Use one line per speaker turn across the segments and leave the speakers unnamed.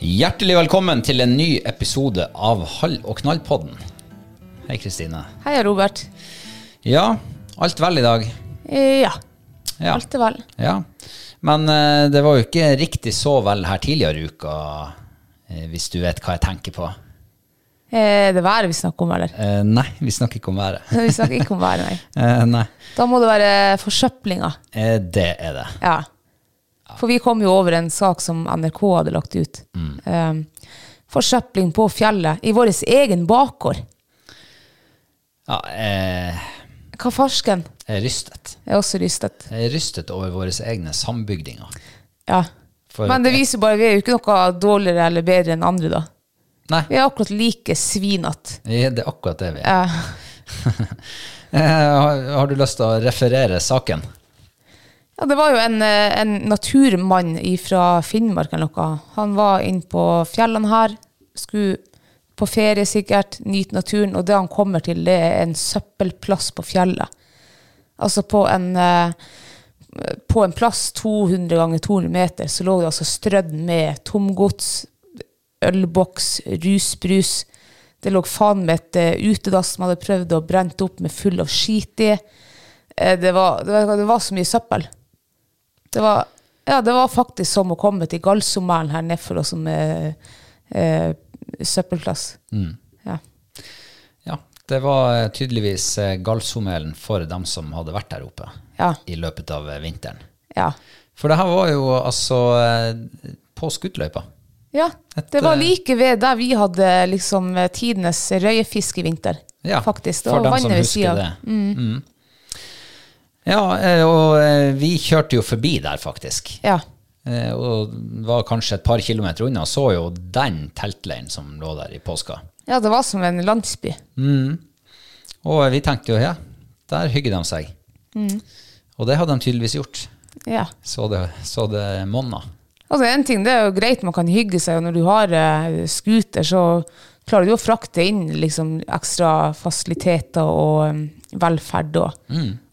Hjertelig velkommen til en ny episode av Hall og knall-podden. Hei, Kristine.
Hei, Robert.
Ja, alt vel i dag?
Eh, Ja.
Ja.
Alt er vel.
Ja. Men eh, det var jo ikke riktig så vel her tidligere i uka, eh, hvis du vet hva jeg tenker på.
Eh, det er været vi snakker om, eller?
Eh, nei, vi snakker ikke om været.
Vi snakker ikke om været, nei.
Eh, nei,
Da må det være forsøplinga.
eh, det er det.
Ja. For vi kom jo over en sak som NRK hadde lagt ut. Eh, forsøpling på fjellet i vår egen bakgård.
Ja, eh,
Hva farsken?
jeg er rystet.
Jeg er også rystet.
Jeg er rystet over våre egne sambygdinger.
Ja.
For-
Men det viser jo bare, vi er jo ikke noe dårligere eller bedre enn andre, da.
Nei,
Vi er akkurat like svinete.
vi- det er akkurat det vi er.
Ja.
Eh, har, har du lyst til å referere saken?
Ja, det var jo en, eh, en naturmann fra Finnmark eller noe. Han var inne på fjellene her, skulle på ferie sikkert, nyte naturen, og det han kommer til, det er en søppelplass på fjellet. Altså på en, eh, på en plass 200 ganger 200 meter, så lå det altså strødd med tomgods, ølboks, rusbrus. Det lå faen med et eh, utedass som hadde prøvd å brente opp med full av skit i. Eh, Det var, det var, det var så mye søppel. Det var, ja, det var faktisk som å komme til Galsomælen her nede for oss som eh, eh, søppelplass.
Mm.
Ja.
Ja, det var eh, tydeligvis eh, gallsomelen for dem som hadde vært der oppe
Ja.
i løpet av eh, vinteren.
Ja.
For det her var jo altså eh, på skuddløypa.
ja.
Et,
Det var
eh,
like ved der vi hadde liksom eh, tidenes røyefisk i vinter.
Ja,
faktisk. Det
for
var
dem som
vannet ved
husker
siden av.
det. Mm. Ja, eh, og eh, vi kjørte jo forbi der, faktisk.
Ja.
Eh, Og var kanskje et par kilometer unna, og så jo den teltleiren som lå der i påska. Mm.
ja, det var som en landsby.
Og vi tenkte jo ja, der hygger de seg.
Mm.
Og det hadde de tydeligvis gjort.
Ja.
Så det, så det monna.
Altså, en ting, det er jo greit, man kan hygge seg, og når du har eh, scooter, så klarer du å frakte inn liksom, ekstra fasiliteter og eh, velferd. Og.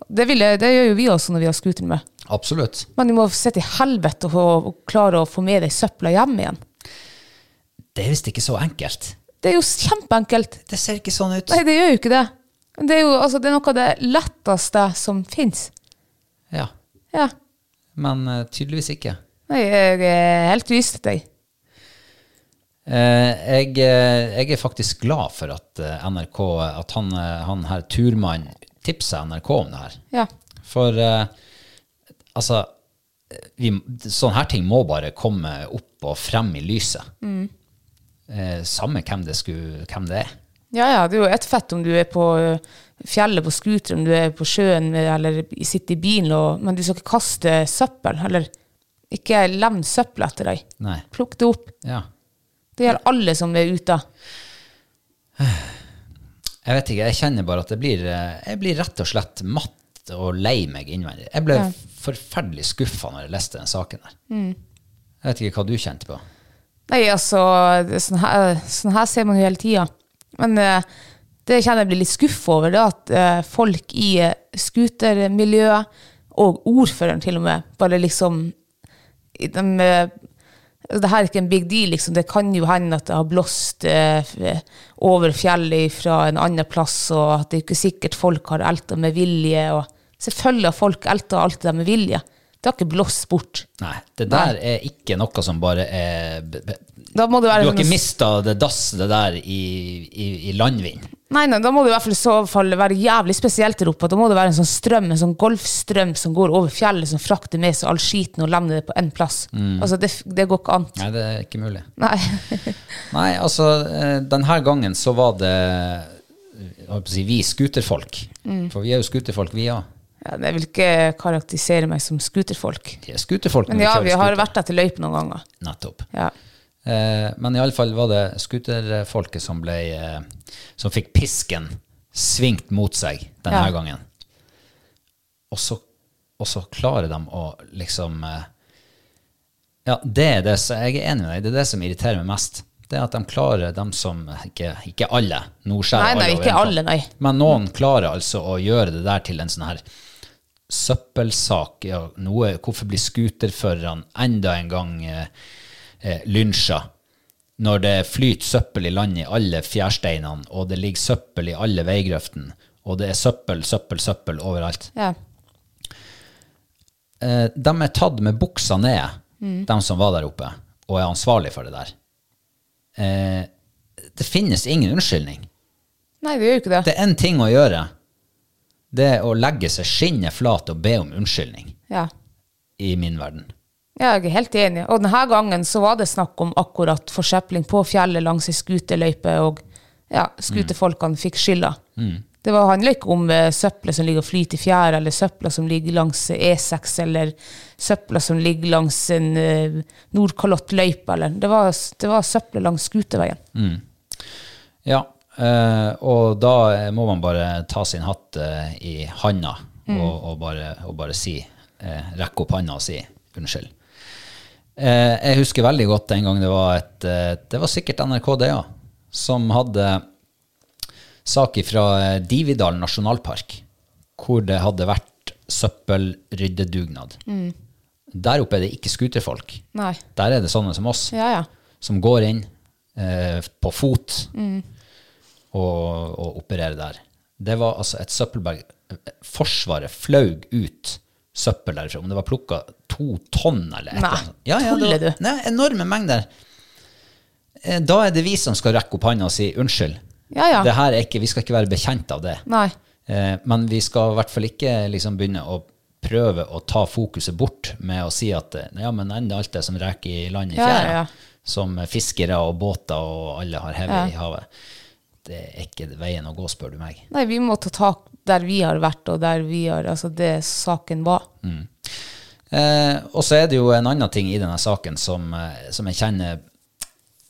Det, vil, jeg- det gjør jo vi også når vi har scooter med.
Absolutt.
Men du må sitte i helvete og, og klare å få med deg søpla hjem igjen.
Det er visst ikke så enkelt.
Det er jo kjempeenkelt.
Det ser ikke sånn ut.
Nei, det gjør jo ikke det. Det er jo altså, det er noe av det letteste som fins.
Ja,
Ja.
men eh, tydeligvis ikke.
Nei, jeg er helt rystete, jeg.
Eh, jeg, eh, jeg er faktisk glad for at eh, NRK, at han, eh, han her turmannen tipsa NRK om det her.
Ja.
For eh, altså, vi, sånne her ting må bare komme opp og frem i lyset. Eh, samme hvem det, skulle, hvem det er.
Ja, ja, det er jo ett fett om du er på ø, fjellet på scooter, om du er på sjøen ø, eller i- sitter i bilen, og, men du skal ikke kaste søppel, eller ikke levn søppel etter deg.
Nei.
Plukk det opp.
Ja.
Det gjelder alle som er ute.
Jeg vet ikke, jeg kjenner bare at det blir, eh, jeg blir rett og slett matt og lei meg innvendig. Jeg ble
Ja. Mm.
forferdelig skuffa når jeg leste den saken der. Jeg vet ikke hva du kjente på.
Nei, altså, det er sånn her, sånn her ser man jo hele tida. Men eh, det jeg kjenner jeg blir litt skuffa over, det er at eh, folk i eh, scootermiljøet, og ordføreren til og med, bare liksom i de, eh, Det her er ikke en big deal, liksom. Det kan jo hende at det har blåst eh, f- over fjellet fra en annen plass, og at det er ikke sikkert folk har elta med vilje. Og selvfølgelig har folk elta alt det der med vilje. Det har ikke blåst bort.
Nei, det der er ikke noe som bare er be- be-
Da må det være
Du har
sånn-
ikke mista det dasset der i, i, i landvind.
Nei, nei, da må det i hvert fall i så fall være jævlig spesielt der oppe. Da må det være en sånn strøm, en sånn golfstrøm som går over fjellet, som frakter med seg all skiten og lemner det på én plass.
Mm.
Altså, det, det går ikke an.
Nei, det er ikke mulig.
Nei.
Nei, altså, eh, denne gangen så var det jeg holdt på å si, vi skuterfolk.
Mm.
For vi er jo skuterfolk, vi òg.
Ja, jeg vil ikke karakterisere meg som skuterfolk.
Vi er skuterfolk. når
Men ja,
kjører
vi har
skuter.
vært etter løype noen ganger.
Nettopp.
Ja.
Eh, men iallfall var det skuterfolket som ble eh, Som fikk pisken svingt mot seg denne
Ja.
gangen. Og så, og så klarer de å liksom eh, Ja, det er det som jeg er enig med deg, det er det som irriterer meg mest. Det er at de klarer, de som Ikke, ikke alle. Nå skjærer
Nei, nei,
over en
ikke
kam.
alle, nei.
Men noen klarer altså å gjøre det der til en sånn her søppelsak. Ja, noe, hvorfor blir skuterførerne enda en gang eh, eh, lynsja? Når det flyter søppel i land i alle fjærsteinene, og det ligger søppel i alle veigrøftene, og det er søppel, søppel, søppel overalt.
Ja.
Eh, de er tatt med buksa ned, de som var der oppe, og er ansvarlig for det der. Eh, det finnes ingen unnskyldning.
Nei, det gjør jo ikke det.
Det er én ting å gjøre. Det er å legge seg skinnet flat og be om unnskyldning,
Ja.
i min verden.
Ja, jeg er helt enig. Og denne gangen så var det snakk om akkurat forsøpling på fjellet langs ei skuterløype, og ja, skuterfolkene fikk skylda. Det var- handla ikke om eh, søpla som ligger og flyter i fjæra, eller søpla som ligger langs eh, E6, eller søpla som ligger langs en eh, Nordkalottløype, eller Det var, det var søpla langs skuterveien.
Ja, eh, og da eh, må man bare ta sin hatt eh, i handa og, og, bare, og bare si, eh, rekke opp handa og si unnskyld. Eh, jeg husker veldig godt en gang det var et eh, Det var sikkert NRK, det, ja. Som hadde sak fra Dividal nasjonalpark, hvor det hadde vært søppelryddedugnad. Der oppe er det ikke skuterfolk.
Nei.
Der er det sånne som oss
Ja, ja.
som går inn eh, på fot
Mm.
og, og opererer der. Det var altså et søppelberg. Forsvaret flaug ut søppel derfra. Om det var plukka to tonn eller et
Nei,
eller annet. Ja, ja, det var-
tuller du?
Nei, enorme mengder. Eh, Da er det vi som skal rekke opp hånda og si unnskyld.
Ja, ja.
Det her er ikke, vi skal ikke være bekjent av det.
Nei.
Eh, Men vi skal i hvert fall ikke liksom begynne å prøve å ta fokuset bort med å si at eh, ja, men enda alt det som reker i land i
Ja, ja,
fjæra,
ja.
som fiskere og båter og alle har hevet
Ja.
i havet, det er ikke veien å gå, spør du meg.
Nei, vi må ta tak der vi har vært, og der vi har Altså, det saken var.
Eh, og så er det jo en annen ting i denne saken som, eh, som jeg kjenner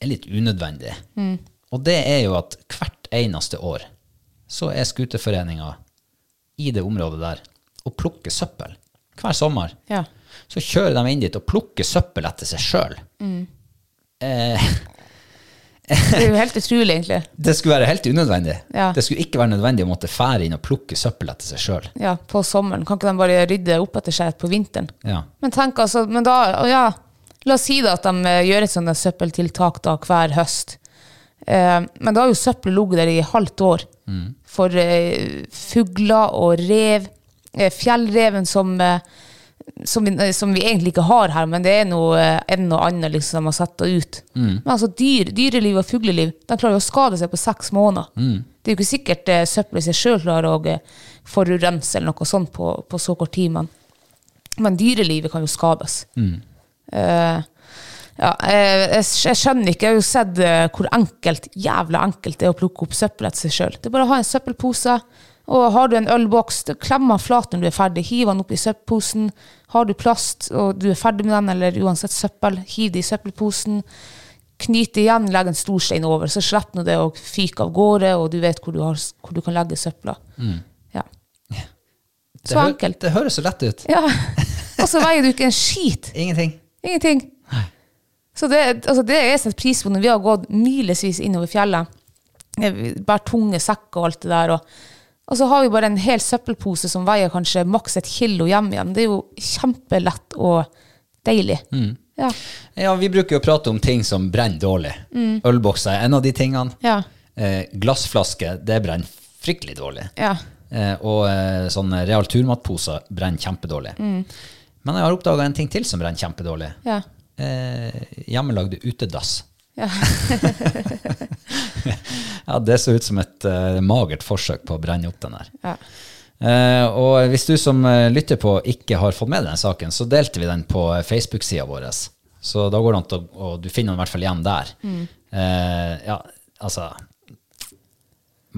er litt unødvendig.
Mm.
Og det er jo at hvert eneste år så er skuterforeninga i det området der og plukker søppel. Hver sommer.
Ja.
Så kjører de inn dit og plukker søppel etter seg sjøl. Eh,
Det er jo helt utrolig, egentlig.
det skulle være helt unødvendig.
Ja.
Det skulle ikke være nødvendig å måtte fære inn og plukke søppel etter seg sjøl.
Ja, på sommeren. Kan ikke de bare rydde opp etter seg på vinteren?
Ja.
Men tenk altså, men da, å ja, la oss si da at de eh, gjør et sånt der søppeltiltak da hver høst. Eh, men da har jo søppel ligget der i halvt år. For eh, fugler og rev. Eh, fjellreven som, eh, som, vi, eh, som vi egentlig ikke har her, men det er noe eh, en og annen liksom de har satt det ut. Men altså dyr, dyreliv og fugleliv, de klarer jo å skade seg på seks måneder. Det er jo ikke sikkert eh, søppelet i seg sjøl klarer å eh, forurense eller noe sånt på, på så kort tid, men Men dyrelivet kan jo skades.
Mm.
Eh, ja, eh, jeg, skj- jeg skjønner ikke. Jeg har jo sett eh, hvor enkelt, jævla enkelt det er å plukke opp søppel etter seg sjøl. Det er bare å ha en søppelpose, og har du en ølboks, da klemmer den flat når du er ferdig. Hiv den oppi søppelposen. Har du plast og du er ferdig med den, eller uansett søppel, hiv det i søppelposen. Knyt det igjen, legg en stor stein over, så slipper nå det å fyke av gårde, og du vet hvor du, har, hvor du kan legge søpla. Ja.
Mm. Det
Så
hø-
enkelt.
Det høres så lett ut.
Ja. Og så veier du ikke en skit.
Ingenting.
Ingenting. Så det, altså det jeg setter pris på når vi har gått milevis innover fjellet, eh, vi bærer tunge sekker og alt det der, og, og så har vi bare en hel søppelpose som veier kanskje maks et kilo hjem igjen. Det er jo kjempelett og deilig. Ja.
Ja, vi bruker jo å prate om ting som brenner dårlig. Ølbokser er en av de tingene.
Mm. Ja.
Eh, glassflasker, det brenner fryktelig dårlig.
Ja.
Eh, og eh, sånne realturmatposer brenner kjempedårlig.
Mm.
Men jeg har oppdaga en ting til som brenner kjempedårlig.
Ja.
Eh, hjemmelagde utedass.
Ja.
Ja, det så ut som et eh, magert forsøk på å brenne opp den der.
Ja.
Eh, og hvis du som eh, lytter på ikke har fått med deg den saken, så delte vi den på eh, Facebook-sida vår. Så da går det an til å Og du finner den i hvert fall igjen der.
Mm.
Eh, ja, altså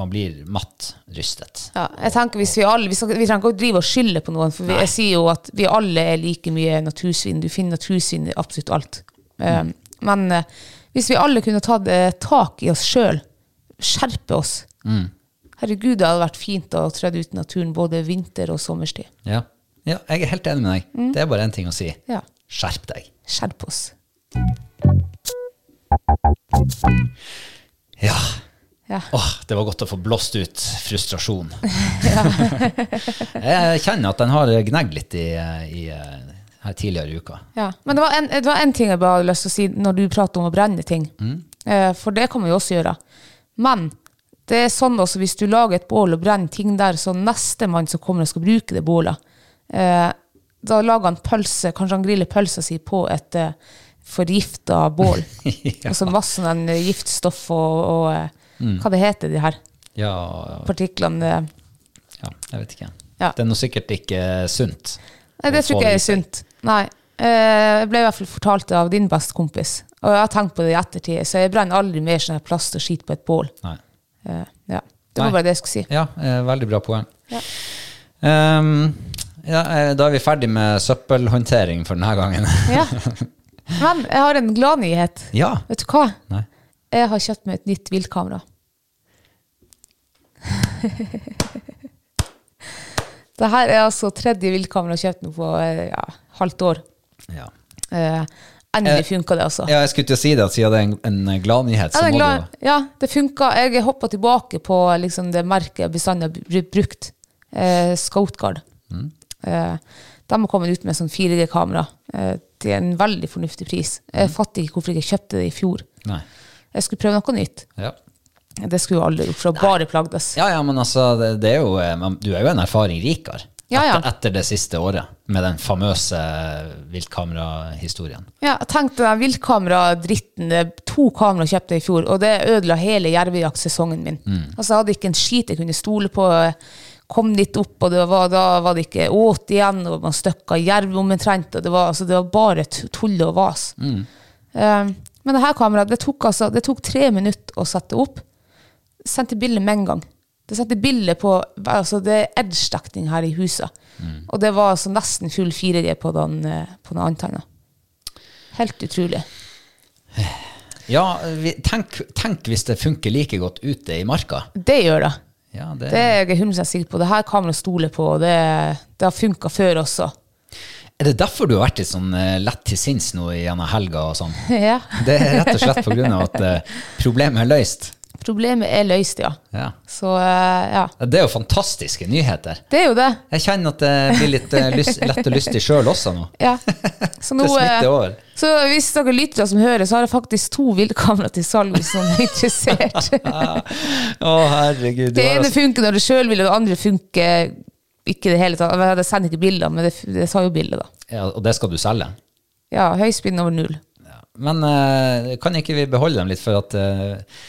Man blir matt rystet.
Ja, jeg tenker hvis Vi alle, vi, skal, vi trenger ikke å drive og skylde på noen, for vi, jeg sier jo at vi alle er like mye natursvin. Du finner natursvin i absolutt alt. Eh, Men eh, hvis vi alle kunne tatt eh, tak i oss sjøl, skjerpe oss Herregud, det hadde vært fint å tre ut i naturen både vinter og sommerstid.
Ja. ja, jeg er helt enig med deg.
Mm.
Det er bare én ting å si.
Ja,
Skjerp deg.
Skjerp oss.
Ja.
Ja.
Åh, det var godt å få blåst ut frustrasjon. jeg kjenner at den har gnagd litt i, i, her tidligere i uka.
Ja. Men det var, en, det var en ting jeg bare hadde lyst til å si når du prater om å brenne ting. Eh, for det kan vi jo også gjøre. Men det er sånn også hvis du lager et bål og brenner ting der, så neste mann som kommer og skal bruke det bålet, eh, da lager han pølse, kanskje han griller pølsa si på et eh, forgifta bål. Altså masse sånn eh, giftstoff og, og eh, hva det heter de her
Ja,
partiklene. eh,
ja jeg vet ikke.
Ja.
Det er nå sikkert ikke sunt.
Nei, det
å få
tror ikke
i
jeg er
seg.
sunt. Nei. Eh, Jeg ble i hvert fall fortalt det av din beste kompis, og jeg har tenkt på det i ettertid, så jeg brenner aldri mer sånn her plast og skit på et bål.
Nei.
Eh, Ja. Det var
Nei.
bare det jeg skulle si.
Ja, eh, veldig bra poeng.
Ja.
Ehm, ja, eh, da er vi ferdig med søppelhåndtering for denne gangen.
Ja. Men jeg har en gladnyhet.
ja.
Vet du hva?
Nei.
Jeg har kjøpt meg et nytt viltkamera. det her er altså tredje viltkamera jeg har kjøpt nå på eh, ja, halvt år.
Ja.
Eh,
Eh,
Endelig funka det, altså.
ja, jeg skulle til å si det, at siden det er en, en glad nyhet,
Ja,
så
det, er
må
glad.
du
ja, det funka. Jeg hoppa tilbake på liksom, det merket jeg bestandig har br- brukt. Eh, Scoutguard.
Mm.
Eh, de har kommet ut med sånn 4G-kamera eh, til en veldig fornuftig pris.
Mm.
Jeg fatter ikke hvorfor jeg ikke kjøpte det i fjor.
Nei.
Jeg skulle prøve noe nytt.
Ja.
Det skulle jo alle gjort, for å bare plagdes.
Ja, ja, men altså, det, det er jo, eh, man- du er jo en erfaring rikere
Ja, ja.
Etter, etter det siste året, med den famøse viltkamerahistorien.
Ja, tenk deg den viltkameradritten. eh, To kamera kjøpte jeg i fjor, og det ødela hele jervejaktsesongen min. Altså, jeg hadde ikke en skit jeg kunne stole på. Jeg Kom dit opp, og det var, da var det ikke åt igjen, og man støkka jerv omtrent. Og det, var, altså, det var bare t- tull og vas. Eh, men det her kameraet, det tok, altså, det tok tre minutter å sette opp. Sendte bilde med en gang. Det sendte bilde på altså, Det er edge-dekning her i huset. Og det var altså nesten full 4G på den, eh, på den antenna. Helt utrolig.
Ja, vi, tenk, tenk hvis det funker like godt ute i marka.
Det gjør det.
Ja, det,
Det er jeg 100 sikker på. Det her kan man stole på, og det, det har funka før også.
Er det derfor du har vært litt sånn eh, lett til sinns nå gjennom helga og sånn?
Ja.
Det er rett og slett på grunn av at eh, problemet er løst.
Problemet er løst, ja.
Ja.
Så eh, ja.
Det er jo fantastiske nyheter.
Det er jo det.
Jeg kjenner at det blir litt eh, lyst, lett og lystig sjøl også nå.
Ja. Så, nå,
Det smitter
eh,
over.
så hvis dere lyttere som hører, så har jeg faktisk to viltkamera til salg hvis noen er interessert.
Å, herregud. Du
Det
har
ene
altså,
funker når du sjøl vil, og det andre funker ikke i det hele tatt. Jeg sender ikke bilder, men det, det tar jo bilder, da.
ja, og det skal du selge?
Ja, høyspinn over null.
Men eh, kan ikke vi beholde dem litt, for at eh,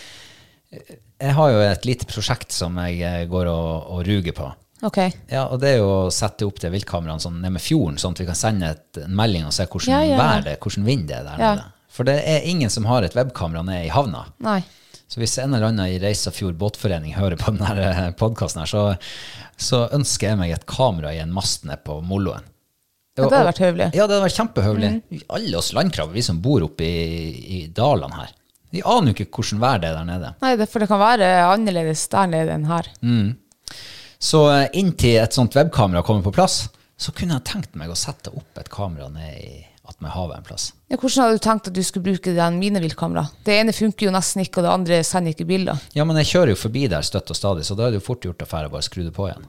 jeg har jo et lite prosjekt som jeg eh, går og, og ruger på.
Ok.
Ja, og det er jo å sette opp det viltkameraene sånn ned med fjorden, sånn at vi kan sende et, en melding og se hvordan
Ja, ja, ja.
vær det er, hvordan vind det er der
Ja.
nede. For det er ingen som har et webkamera nede i havna.
Nei.
Så hvis en eller annen i Reisafjord båtforening hører på denne podkasten, her, så, så ønsker jeg meg et kamera i en mast nede på Molloen.
Ja, det hadde vært høvelig. Mm.
Ja, det hadde vært kjempehøvelig. Alle oss landkrabber, vi som bor oppe i, i dalene her, vi aner jo ikke hvordan vær det er der nede.
Nei, det, for det kan være annerledes der nede enn her.
Så eh, inntil et sånt webkamera kommer på plass, så kunne jeg tenkt meg å sette opp et kamera ned i at med havet en plass.
Ja, hvordan hadde du tenkt at du skulle bruke den mineviltkamera? Det ene funker jo nesten ikke, og det andre sender ikke bilder.
Ja, men jeg kjører jo forbi der støtt og stadig, så da er det jo fort gjort å fære og bare skru det på igjen.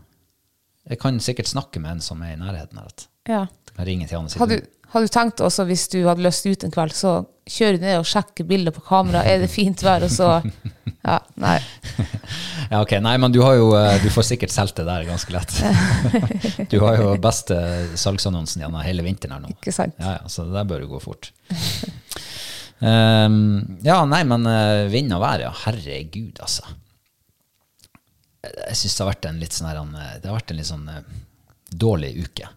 Jeg kan sikkert snakke med en som er i nærheten her. at
Ja.
jeg kan ringe til han og si
Hadde, du- hadde du tenkt også, hvis du hadde lyst ut en kveld, så kjører du ned og sjekker bilder på kamera, er det fint vær, og så Ja, nei.
Ja, ok, nei, men du har jo eh, Du får sikkert solgt det der ganske lett. Du har jo beste salgsannonsen gjennom hele vinteren her nå.
Ikke sant.
Ja, ja, så det der bør jo gå fort. Ehm, ja, nei, men eh, vind og vær, ja. Herregud, altså. Jeg syns det har vært en litt sånn her eh, Det har vært en litt sånn eh, dårlig uke.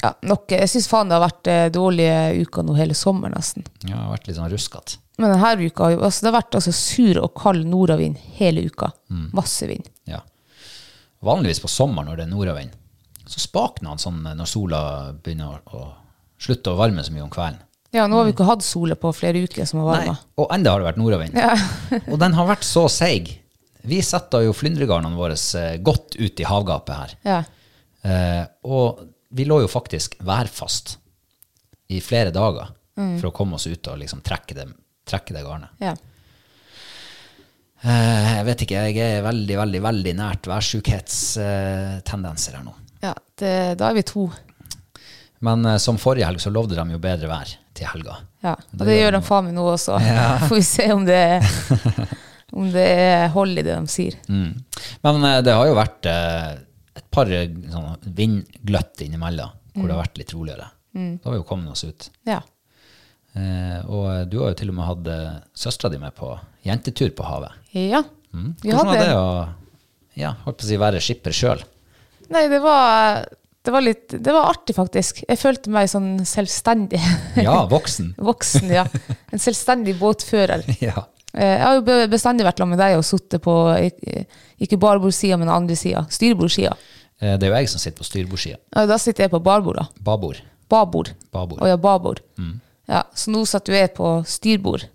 Ja, nok, jeg syns faen det har vært eh, dårlige uker nå hele sommeren, nesten.
Ja, det har vært litt sånn ruskete.
Men denne uka har jo- altså, det har vært altså, sur og kald nordavind hele uka.
Mm.
Masse vind.
Ja. Vanligvis på sommeren når det er nordavind, så spakner han sånn eh, når sola begynner å, å slutte å varme så mye om kvelden.
Ja, nå har vi ikke hatt sola på flere uker som har
Nei,
varma.
og enda har det vært nordavind. og den har vært så seig. Vi setter jo flyndregarnene våre eh, godt ut i havgapet her.
Ja.
Eh, og vi lå jo faktisk værfast i flere dager for å komme oss ut og liksom trekke det, trekke det garnet.
Ja.
Eh, jeg vet ikke, jeg er veldig, veldig, veldig nært værsjukhetstendenser her nå.
ja det, da er vi to.
Men eh, som forrige helg så lovde de jo bedre vær til helga.
Ja, og det, gjør de faen meg nå også. Får vi se om det, om det er hold i det de sier.
Mm. Men eh, det har jo vært eh, et par eh, sånne vindgløtt innimellom, hvor
Mm.
det har vært litt roligere. Da har vi jo kommet oss ut.
Ja.
Eh, og du har jo til og med hatt eh, søstera di med på jentetur på havet.
ja. Vi
Hvordan var
hadde-
det å ja, holdt på å si, være skipper sjøl?
Nei, det var, det var litt Det var artig, faktisk. Jeg følte meg sånn selvstendig.
Ja, voksen.
Voksen, ja. En selvstendig båtfører.
ja.
Eh, Jeg har jo be- bestandig vært sammen med deg og sittet på eh, ikke barbordsida, men andre sida. Styrbordssida.
Eh, det er jo jeg som sitter på styrbordssida.
Ja, Da sitter jeg på barbord, da.
Babord.
Babord.
Babord.
Å ja, babord. Ja, så nå satt jo jeg på styrbord.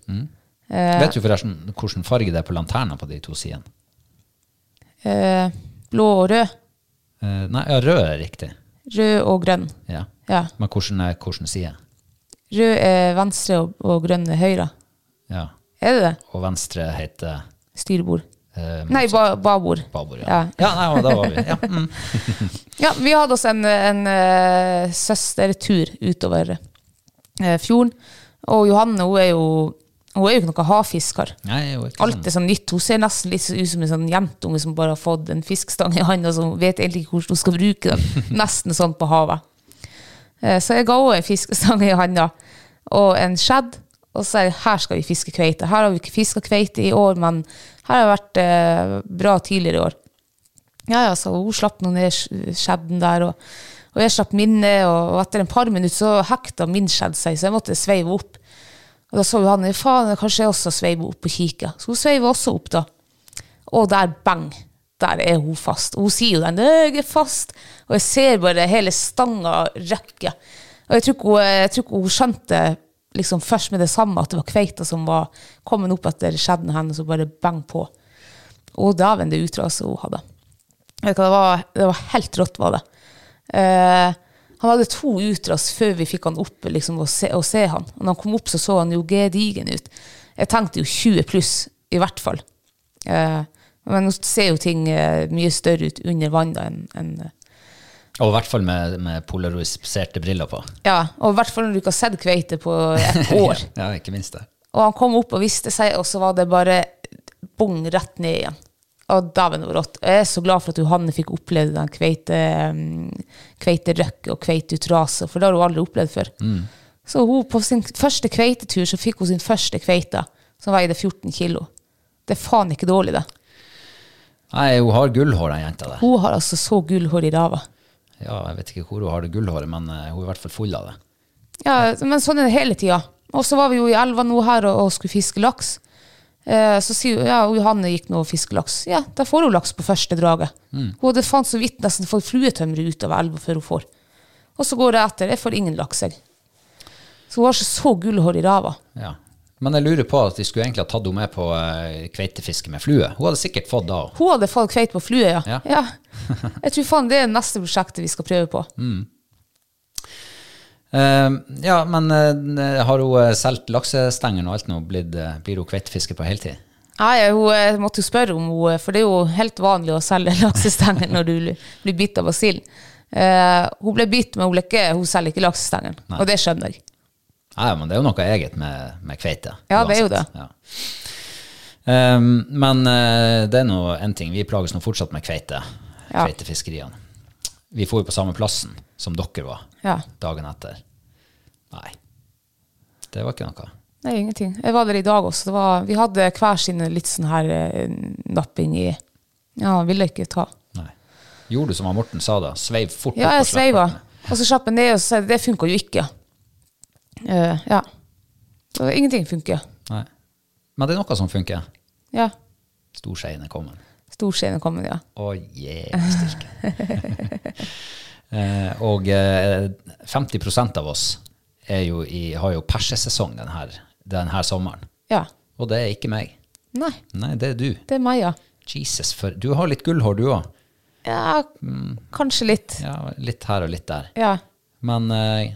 Vet du forresten hvilken farge det er på lanterna på de to sidene?
Eh, blå og rød.
Eh, nei, ja, rød er riktig.
Rød og grønn.
Ja.
Ja.
Men hvordan, er- hvordan side?
Rød er venstre og, og grønn er høyre.
Ja.
Er det det?
Og venstre heter
Styrbord.
eh,
Nei, ba, babord.
babord. Ja,
Ja.
ja. nei, men da var vi. Ja. Mm.
Ja, vi hadde oss en, en eh, søstertur utover eh, fjorden. Og Johanne hun er jo, hun er jo ikke noen havfisker.
Nei, jo, ikke sånn.
Alt er sånn nytt. Hun ser nesten litt ut som en sånn jentunge som bare har fått en fiskestang i hånda, som vet egentlig ikke hvordan hun skal bruke den. Nesten sånn på havet. Eh, Så jeg ga henne en fiskestang i hånda og en skjedd, og så sa jeg her skal vi fiske kveite. Her har vi ikke fiska kveite i år, men her har det vært eh, bra tidligere i år. Ja, ja, så hun slapp nå ned sk- skjedden der, og, og jeg slapp min ned, og, og etter en par minutter så hekta min skjedd seg, så jeg måtte sveive opp. Og da så jo han, faen, kanskje jeg også sveiver opp og kikker. Så hun sveiver også opp da. Og der, bang, der er hun fast. Og hun sier jo den, jeg er fast. Og jeg ser bare hele stanga røkke. Og jeg tror ikke hun, jeg tror ikke hun skjønte liksom først med det samme at det var kveita som var kommet opp etter skjedden hennes og bare bang på. Og dæven, det utdraget hun hadde. Vet du hva, det var, det var helt rått, var det. Eh, han hadde to utras før vi fikk han opp liksom, og, se, og se han. Og når han kom opp, så så han jo gedigen ut. Jeg tenkte jo 20 pluss, i hvert fall. Eh, men nå ser jo ting eh, mye større ut under vannet enn enn, eh,
sånn. Og i hvert fall med, med polariserte briller på.
Ja, og i hvert fall når du ikke har sett kveite på et år.
Ja, ikke minst det.
Og han kom opp og viste seg, og så var det bare bong rett ned igjen. Og dæven, det var rått. Jeg er så glad for at Johanne fikk oppleve den kveite, mm, kveiterøkket og kveiteutraset, for det har hun aldri opplevd før. Så hun, på sin første kveitetur så fikk hun sin første kveite, som veide 14 kilo. Det er faen ikke dårlig, det.
Nei, hun har gullhår, den jenta der.
Hun har altså så gull hår i ræva.
Ja, jeg vet ikke hvor hun har det gullhåret, men eh, hun er i hvert fall full av det.
Ja, men sånn er det hele tida. Og så var vi jo i elva nå her og, og skulle fiske laks. Eh, så sier hun ja, og Johanne gikk nå og fisker laks. Ja, da får hun laks på første draget. Hun hadde faen så vidt nesten fått fluetømmeret ut av elva før hun får. Og så går det etter. Jeg får ingen laks, jeg. Så hun har ikke så gullhår i ræva.
Ja. Men jeg lurer på at de skulle egentlig ha tatt henne med på eh, kveitefiske med flue. Hun hadde sikkert fått da òg.
Hun hadde fått kveit på flue, ja.
Ja.
Jeg tror faen det er neste prosjektet vi skal prøve på.
Ehm, ja, men eh, har hun eh, solgt laksestengene og alt nå? Blitt, eh, blir hun kveitefisker på heltid?
Nei, hun eh, måtte jo spørre om hun, for det er jo helt vanlig å selge laksestenger når du blir bitt av basillen. Eh, hun ble bitt, men hun, ble ikke, hun selger ikke laksestenger, og det skjønner jeg.
Nei, men det er jo noe eget med, med kveite.
Ja, det er jo det.
Ja. Ehm, men eh, det er nå en ting. Vi plages nå fortsatt med kveite.
Ja.
Kveitefiskeriene. Vi får jo på samme plassen som dere var
Ja,
dagen etter. Nei. Det var ikke noe.
det er ingenting. Jeg var der i dag også. Det var, vi hadde hver sin litt sånn her eh, napping i Ja, han ville ikke ta.
Nei. Gjorde du som han Morten sa da? Sveiv fort
Ja,
opp
jeg
og slapp
sveiva.
av.
Og så slapp jeg ned, og så sa jeg det funka jo ikke. Eh, ja. Så ingenting funker.
Nei. Men det er noe som funker.
Ja.
Storseien er kommet.
Storskjeen er kommet, ja.
Å, jævlig styrke. Eh, og eh, 50 av oss er jo i, har jo persesesong denne, denne sommeren.
Ja.
Og det er ikke meg.
Nei,
Nei, det er du.
det er meg, ja.
Jesus, for du har litt gullhår, du òg.
Ja,
Mm.
kanskje litt.
Ja, litt her og litt der.
Ja.
Men eh,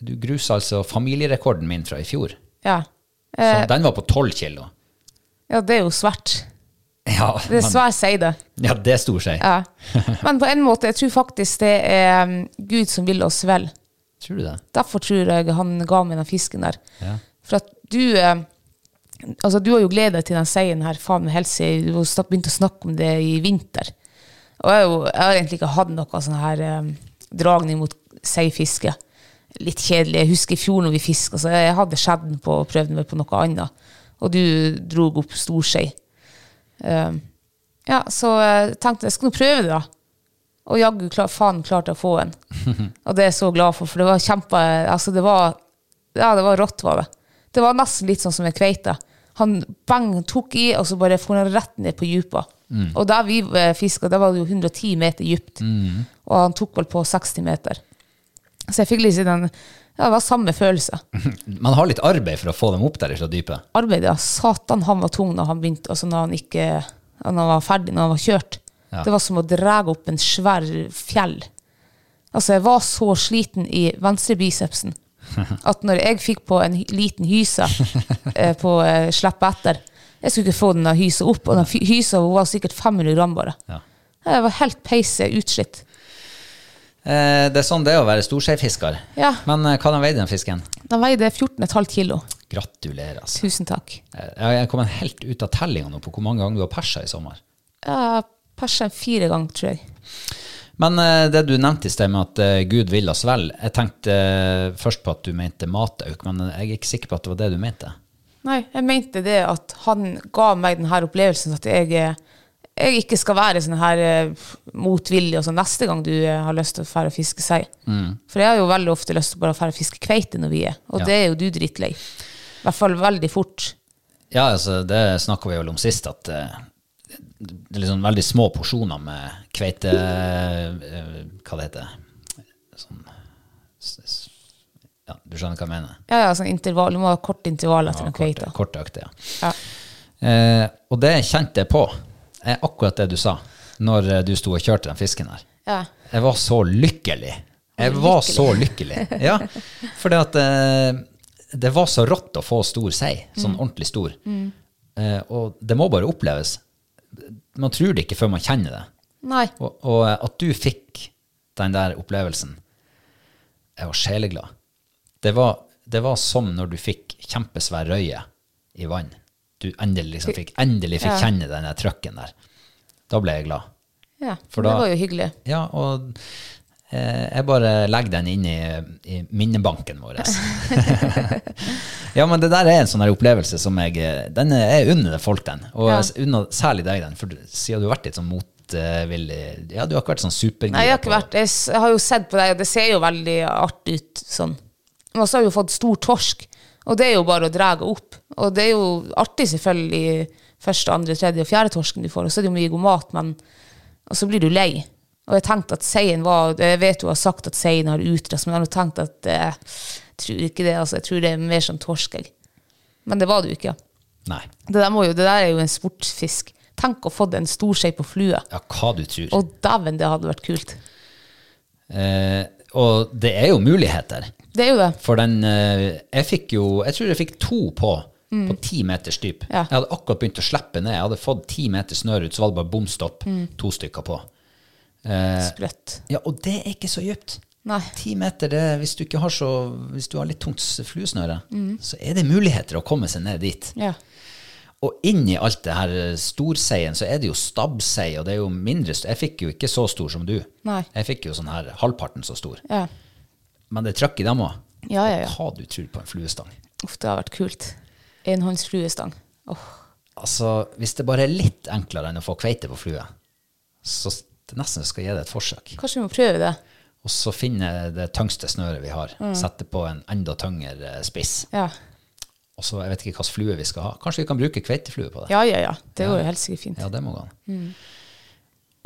du grusa altså familierekorden min fra i fjor.
Ja.
Så
Eh.
den var på 12 kilo.
ja, det er jo svært.
Ja,
Det er
men-
svært, sier det.
ja, det er stor seg.
Ja. Men på en måte, jeg tror faktisk det er mm, Gud som vil oss vel.
Tror du det?
Derfor tror jeg han ga meg den fisken der.
Ja.
For at du eh, Altså, du har jo gledet deg til den seien her, faen med helse. Du har snak- begynt å snakke om det i vinter. Og jeg, er jo, jeg har egentlig ikke hatt noe sånn her eh, dragning mot seifiske. Litt kjedelig. Jeg husker i fjor når vi fiska, så jeg hadde skjeden på og prøvde meg på noe annet. Og du dro opp storsei. Eh, ja, så jeg tenkte jeg skulle nå prøve det, da. Og jaggu klar, faen klarte jeg å få en. Og det er jeg så glad for, for det var kjempe Altså, det var Ja, det var rått, var det. Det var nesten litt sånn som en kveite. Han bang tok i, og så bare for han rett ned på dypa. Og der vi fiska, der var det jo 110 meter dypt. Og han tok vel på 60 meter. Så jeg fikk liksom den Ja, det var samme følelse.
Man har litt arbeid for å få dem opp der fra dypet.
Arbeidet, ja. Satan, han var tung når han begynte, altså når han ikke Når han var ferdig, når han var kjørt.
Ja.
Det var som å dra opp en svær fjell. Altså, jeg var så sliten i venstre bicepsen at når jeg fikk på en hy- liten hyse eh, på eh, slippet etter Jeg skulle ikke få den hysa opp, og den fy- hysa var sikkert 500 gram bare.
Ja.
Jeg var helt peise utslitt.
Eh, det er sånn det er å være storseifisker.
Ja.
Men eh, hva den veide den fisken?
Den veide 14,5 kilo.
Gratulerer, altså.
Tusen takk.
Eh, Jeg er kommet helt ut av tellinga nå på hvor mange ganger du har persa i sommer.
Jeg persa fire ganger, tror jeg.
Men eh, det du nevnte i sted med at eh, Gud vil oss vel, jeg tenkte eh, først på at du mente matauk, men eh, jeg er ikke sikker på at det var det du mente.
Nei, jeg mente det at han ga meg denne opplevelsen at jeg, eh, jeg ikke skal være sånn her eh, motvillig og sånn neste gang du eh, har lyst til å fære og fiske sei. For jeg har jo veldig ofte lyst til bare å fære og fiske kveite når vi er, og
Mm. Ja.
det er jo du drittlei. I hvert fall veldig fort.
Ja, altså, det snakka vi vel om sist, at eh, det er liksom veldig små porsjoner med kveite eh, Hva det heter Sånn s- s- Ja, du skjønner hva jeg mener?
Ja, ja, sånn intervall. Du må ha kort intervall etter
Ja,
noen kveite.
korte, korte økter, ja.
Ja.
Eh, og det kjente jeg på, er akkurat det du sa, når eh, du sto og kjørte den fisken her.
Ja.
Jeg var så lykkelig. Jeg var så lykkelig. Ja, fordi at eh, det var så rått å få stor sei, sånn ordentlig stor. Eh, og det må bare oppleves. Man tror det ikke før man kjenner det.
Nei.
Og, og eh, at du fikk den der opplevelsen, jeg var sjeleglad. Det var, det var som når du fikk kjempesvær røye i vann. Du endelig, liksom fikk, endelig fikk
Ja.
kjenne den der trøkken der. Da ble jeg glad.
Ja.
For
det
da-
var jo hyggelig.
Ja, og eh, jeg bare legger den inn i, i minnebanken vår. Ja, men det der er en sånn her opplevelse som jeg eh, Den er unner folk den. Og
Ja.
s- unner særlig deg den, for du- siden du har vært litt sånn motvillig Ja, du har ikke vært sånn supergira.
Nei, jeg har ikke
på-
vært jeg, s- jeg har jo sett på deg, og det ser jo veldig artig ut sånn. Men så har jeg jo fått stor torsk, og det er jo bare å dra opp. Og det er jo artig, selvfølgelig, første, andre, tredje og fjerde torsken du får, og så er det jo mye god mat, men Og så blir du lei. Og jeg tenkte at seien var Jeg vet du har sagt at seien har utras, men jeg har jo tenkt at eh, jeg tror ikke det, altså. Jeg tror det er mer som torsk, jeg. Men det var det jo ikke.
Nei.
Det der, må jo, det der er jo en sportsfisk. Tenk å få en stor skje på flue.
Ja, hva du tror.
Å dæven, det hadde vært kult.
Eh, og det er jo muligheter.
Det er jo det.
For den eh, Jeg fikk jo Jeg tror jeg fikk to på. På ti meters dyp.
Mm. Ja.
Jeg hadde akkurat begynt å slippe ned. Jeg hadde fått ti meter snøre ut, så var det bare bom stopp.
Mm.
To stykker på.
Sprøtt.
Ja, og det er ikke så dypt.
Nei.
Ti meter, det, hvis, du ikke har så, hvis du har litt tungt s- fluesnøre, så er det muligheter å komme seg ned dit.
Mm. Ja.
Og inni alt det her eh, storseien, så er det jo stabbsei, og det er jo mindre st- Jeg fikk jo ikke så stor som du.
Nei.
Jeg fikk jo sånn her halvparten så stor.
ja.
Men det er trøkk i dem òg.
Ja, ja, ja.
Hva du tror på en fluestang.
Uff, det hadde vært kult. Enhånds fluestang. Åh.
Altså, hvis det bare er litt enklere enn å få kveite på flue, så s- det er nesten jeg skal gi det et forsøk.
Kanskje vi må prøve det.
Og så finne det tyngste snøret vi har,
Mm.
sette på en enda tyngre eh, spiss,
Ja,
og så jeg vet ikke hvilken flue vi skal ha. Kanskje vi kan bruke kveiteflue på det?
ja, ja. ja. Det går jo helt sikkert fint.
Ja, det må gå an.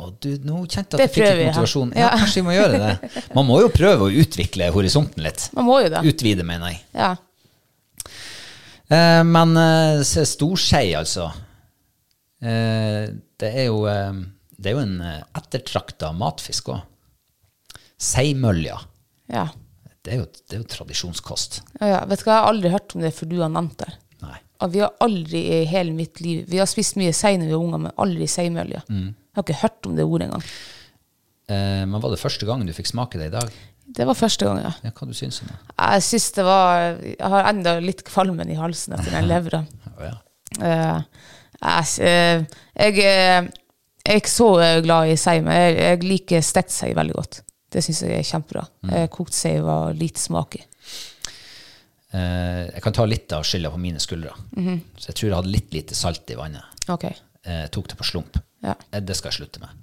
Og du, nå kjente jeg
Det
at du fikk
prøver
litt
jeg.
motivasjon. Ja,
Ja.
kanskje vi må gjøre det. Man må jo prøve å utvikle horisonten litt.
Man må jo det.
Utvide, mener jeg.
Ja.
Eh, men eh, se, storskei, altså. Eh, det, er jo, eh, det er jo en eh, ettertrakta matfisk òg. Seimølja.
Ja.
Det er, jo, det er jo tradisjonskost.
Ja, ja. Vet du hva, jeg har aldri hørt om det før du har nevnt det.
Nei.
Og vi har aldri i hele mitt liv Vi har spist mye sei når vi var unger, men aldri seimølje. Jeg har ikke hørt om det ordet engang.
Eh, men var det første gang du fikk smake det i dag?
Det var første gang, ja.
Ja, hva du syns om det?
Jeg syns det var Jeg har enda litt kvalmen i halsen etter den levra.
Å, ja.
Eh, jeg, s- eh, jeg, eh, jeg er ikke så eh, glad i sei, men jeg, jeg liker stekt sei veldig godt. Det syns jeg er kjempebra.
Mm.
Eh, kokt sei var lite smak i.
Eh, jeg kan ta litt av skylda på mine skuldre.
Mhm.
Så jeg tror jeg hadde litt lite salt i vannet.
Ok.
Eh, tok det på slump.
Ja.
Eh, det skal jeg slutte med.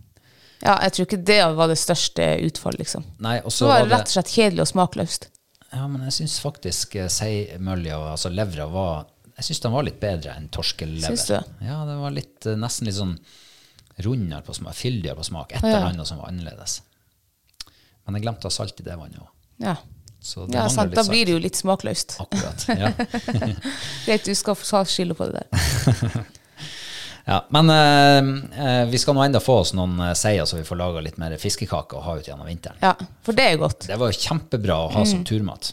ja, jeg tror ikke det var det største utfallet, liksom.
Nei, og så
Så var
var
det rett
det
og slett kjedelig og smakløst.
Ja, men jeg syns faktisk eh, seimølja, altså levra, var Jeg syns den var litt bedre enn torskelever.
Syns du?
Ja, den var litt, eh, nesten litt sånn rundere på smak, fyldigere på smak. Et
ja.
eller annet som var annerledes. Men jeg glemte å ha salt i det vannet òg.
Ja,
Så det
ja
mangler
sant.
litt
Da
salt.
blir det jo litt smakløst.
Akkurat. Ja.
Greit, du skal få ta skylda på det der.
Ja, men eh, eh, vi skal nå enda få oss noen eh, seier, så vi får laga litt mer fiskekake å ha ut gjennom vinteren.
Ja, For det er godt.
Det var jo kjempebra å ha som turmat.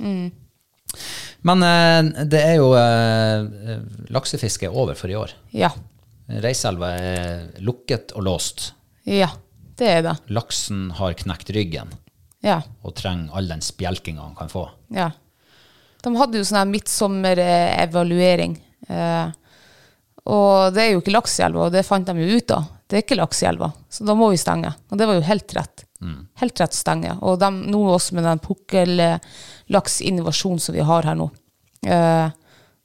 Men eh, det er jo eh, Laksefiske er over for i år.
Ja.
Reiselva er lukket og låst.
Ja, det er det.
Laksen har knekt ryggen
Ja.
og trenger all den spjelkinga han kan få.
ja. De hadde jo sånn her midtsommerevaluering. Eh, og det er jo ikke laks i elva, og det fant de jo ut av. Det er ikke laks i elva, så da må vi stenge. Og det var jo helt rett. Helt rett stenge. Og de, nå også med den pukkellaksinvasjonen som vi har her nå, eh,